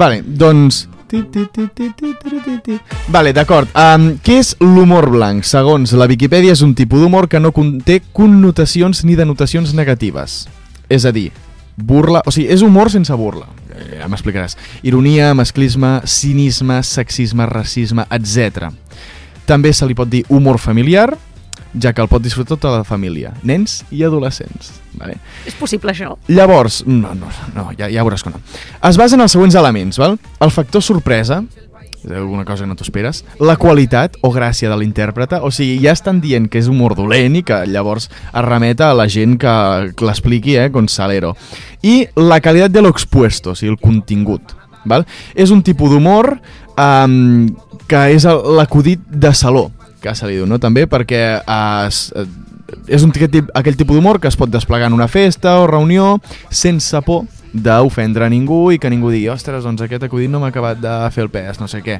Speaker 4: Vale, doncs... Ti, ti, ti, ti, ti, ti, ti, ti. Vale, d'acord. Um, què és l'humor blanc? Segons la Viquipèdia, és un tipus d'humor que no conté connotacions ni denotacions negatives. És a dir, burla... O sigui, és humor sense burla. Eh, Ja m'explicaràs. Ironia, masclisme, cinisme, sexisme, racisme, etc. També se li pot dir humor familiar, ja que el pot disfrutar tota la família, nens i adolescents. Vale?
Speaker 3: és possible, això?
Speaker 4: Llavors, mm, no, no, no ja, ja veuràs que no. Es basa en els següents elements, val? El factor sorpresa, és alguna cosa que no t'ho esperes, la qualitat o gràcia de l'intèrprete, o sigui, ja estan dient que és humor dolent i que llavors es remeta a la gent que que l'expliqui, eh, Gonzalero. I la qualitat de l'expuesto, o sigui, el contingut. Val? És un tipus d'humor um, que és el- l'acudit de saló, que se li diu, no? També perquè eh, es, eh, és un tic- tip- aquell tipus d'humor que es pot desplegar en una festa o reunió sense por d'ofendre a ningú i que ningú digui, ostres, doncs aquest acudit no m'ha acabat de fer el pes, no sé què.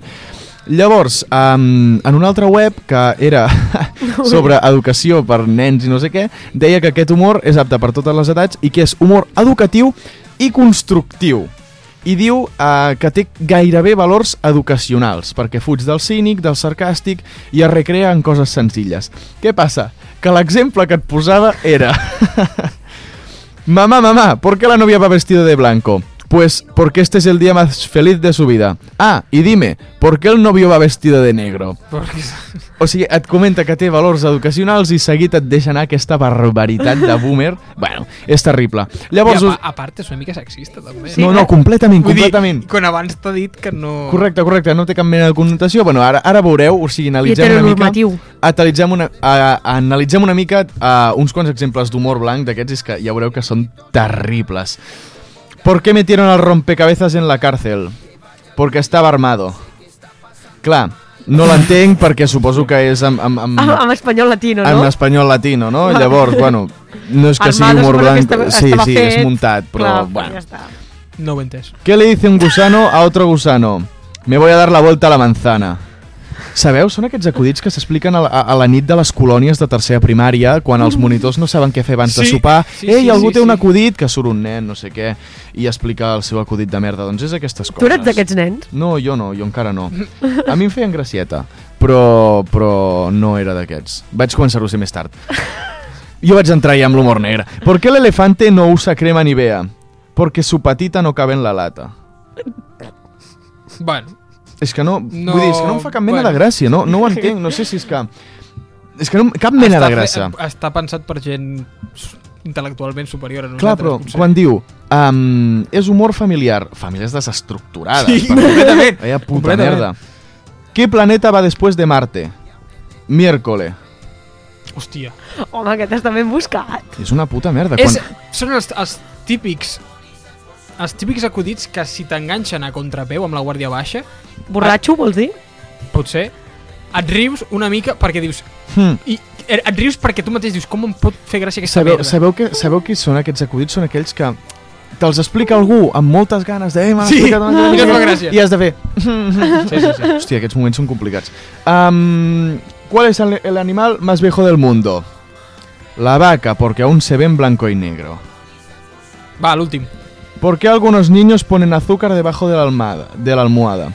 Speaker 4: Llavors, um, en una altra web que era sobre educació per nens i no sé què, deia que aquest humor és apte per totes les edats i que és humor educatiu i constructiu. I diu eh, que té gairebé valors educacionals, perquè fuig del cínic, del sarcàstic i es recrea en coses senzilles. Què passa? Que l'exemple que et posava era... Mamá, mamá, ¿por qué la novia va vestida de blanco? Pues porque este es el día más feliz de su vida. Ah, y dime, ¿por qué el novio va vestido de negro?
Speaker 2: Perquè...
Speaker 4: O sigui, et comenta que té valors educacionals i seguit et deixa anar aquesta barbaritat de boomer. Bueno, és terrible. Llavors...
Speaker 2: I a,
Speaker 4: us-
Speaker 2: pa- ah, a part és una mica sexista, també.
Speaker 4: no, no, completament, completament.
Speaker 2: Dir, quan abans t'ha dit que no...
Speaker 4: Correcte, correcte, no té cap mena de connotació. Bueno, ara, ara veureu, o sigui, analitzem una mica...
Speaker 3: heteronormatiu.
Speaker 4: Analitzem una, uh, analitzem una mica uh, uns quants exemples d'humor blanc d'aquests, és que ja veureu que són terribles. ¿Por qué metieron al rompecabezas en la cárcel? Porque estaba armado. Clar, no l'entenc perquè suposo que és amb, amb, amb,
Speaker 3: Amb, amb espanyol latino,
Speaker 4: en
Speaker 3: Ah, no?
Speaker 4: espanyol latino, no? Llavors, bueno, no és que sigui
Speaker 3: Armado,
Speaker 4: humor
Speaker 3: suposo que
Speaker 4: blanc,
Speaker 3: estava-
Speaker 4: sí,
Speaker 3: estava
Speaker 4: sí,
Speaker 3: fet.
Speaker 4: és muntat, però
Speaker 3: Clar,
Speaker 4: bueno.
Speaker 3: Ja està.
Speaker 2: No ho he entès.
Speaker 4: ¿Qué le dice un gusano a otro gusano? Me voy a dar la vuelta a la manzana. Sabeu, són aquests acudits que s'expliquen a, la- a, a la nit de les colònies de tercera primària, quan els monitors no saben què fer abans de
Speaker 2: Mm. Sí,
Speaker 4: sopar.
Speaker 2: sí,
Speaker 4: Ei,
Speaker 2: sí,
Speaker 4: algú
Speaker 2: sí,
Speaker 4: té un
Speaker 2: sí.
Speaker 4: acudit, que surt un nen, no sé què, i explica el seu acudit de merda. Doncs és aquestes coses.
Speaker 3: Tu eres d'aquests nens?
Speaker 4: No, jo no, jo encara no. A mi em feien gracieta, però, però no era d'aquests. Vaig començar-ho a ser més tard. Jo vaig entrar ja amb l'humor negre. ¿Por qué el elefante no usa crema Nivea? Porque su patita no cabe en la lata.
Speaker 2: Bueno,
Speaker 4: És que no, no
Speaker 2: No,
Speaker 4: vull dir, és que no em fa cap mena
Speaker 2: bueno.
Speaker 4: bueno. de gràcia, no, no ho entenc, no sé si és que... És que no, cap mena de gràcia.
Speaker 2: Fe, està pensat per gent s- intel·lectualment superior a nosaltres.
Speaker 4: Clar, però
Speaker 2: potser.
Speaker 4: quan diu um, és humor familiar, famílies desestructurades.
Speaker 2: Sí,
Speaker 4: perquè-
Speaker 2: completament.
Speaker 4: Vaya puta
Speaker 2: Completament.
Speaker 4: merda. ¿Qué planeta va después de Marte? Miércoles.
Speaker 2: Hòstia.
Speaker 3: Home, aquest està ben buscat.
Speaker 4: És una puta merda.
Speaker 2: És,
Speaker 4: Quan...
Speaker 2: són els, els típics els típics acudits que si t'enganxen a contrapeu amb la guàrdia baixa,
Speaker 3: Borratxo, vols dir?
Speaker 2: potser et rius una mica perquè dius
Speaker 4: Hmm.
Speaker 2: i et et rius perquè tu mateix dius com em pot fer gràcia aquesta
Speaker 4: Sabeu,
Speaker 2: merda
Speaker 4: sabeu, que, sabeu qui són aquests acudits? Són aquells que te'ls explica algú amb moltes ganes de... Eh, m'han
Speaker 2: Sí,
Speaker 4: explicat una cosa",
Speaker 2: mira, fa gràcia.
Speaker 4: I has de fer...
Speaker 2: sí, sí, sí.
Speaker 4: Hòstia, aquests moments són complicats. Um, ¿Cuál es el, el animal más viejo del mundo? La vaca, porque aún se ve en blanco y negro.
Speaker 2: va, l'últim
Speaker 4: ¿Por qué algunos niños ponen azúcar debajo de la, almada- de la almohada?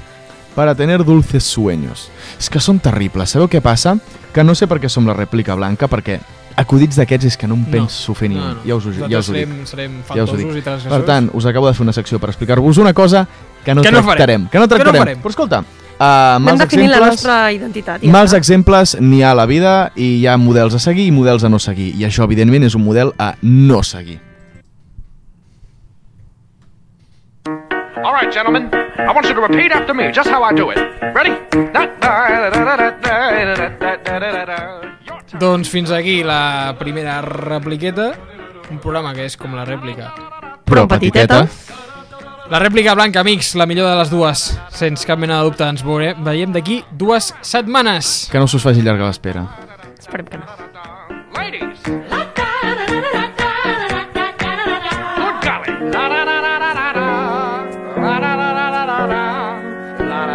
Speaker 4: Para tener dulces sueños. És que són terribles. Sabeu què passa? Que no sé per què som la rèplica blanca, perquè acudits d'aquests és que no em penso fer ni un. Ja us ho, ju- ja us ho dic.
Speaker 2: serem, serem
Speaker 4: Ja us ho
Speaker 2: faltosos i
Speaker 4: dic.
Speaker 2: transgressors
Speaker 4: Per tant, us acabo de fer una secció per explicar-vos una cosa que no,
Speaker 2: Que no farem.
Speaker 4: tractarem. Que no
Speaker 2: no
Speaker 4: tractarem.
Speaker 2: farem.
Speaker 4: Però escolta, uh,
Speaker 3: Anem
Speaker 4: mals
Speaker 3: definint la
Speaker 4: exemples...
Speaker 3: nostra identitat. ja
Speaker 4: Mals
Speaker 3: està.
Speaker 4: exemples n'hi ha a la vida i hi ha models a seguir i models a no seguir. I això, evidentment, és un model a no seguir.
Speaker 6: All right, gentlemen. I want you to repeat after me just how I do it. Ready? Your turn.
Speaker 2: doncs fins aquí la primera repliqueta un programa que és com la rèplica
Speaker 3: Però petiteta.
Speaker 7: La rèplica blanca, amics, la millor de les dues. Sens cap mena de dubte, ens veure- veiem d'aquí dues setmanes.
Speaker 4: Que no se us faci llarga l'espera.
Speaker 8: Esperem que no.
Speaker 2: Ladies! Good golly! La-da-da-da-da-da-da. La-da-da-da-da-da-da.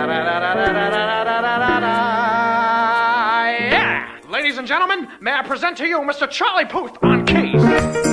Speaker 2: La-da-da-da-da-da-da-da-da-da. Yeah! Ladies and gentlemen, may I present to you Mr. Charlie Puth on keys.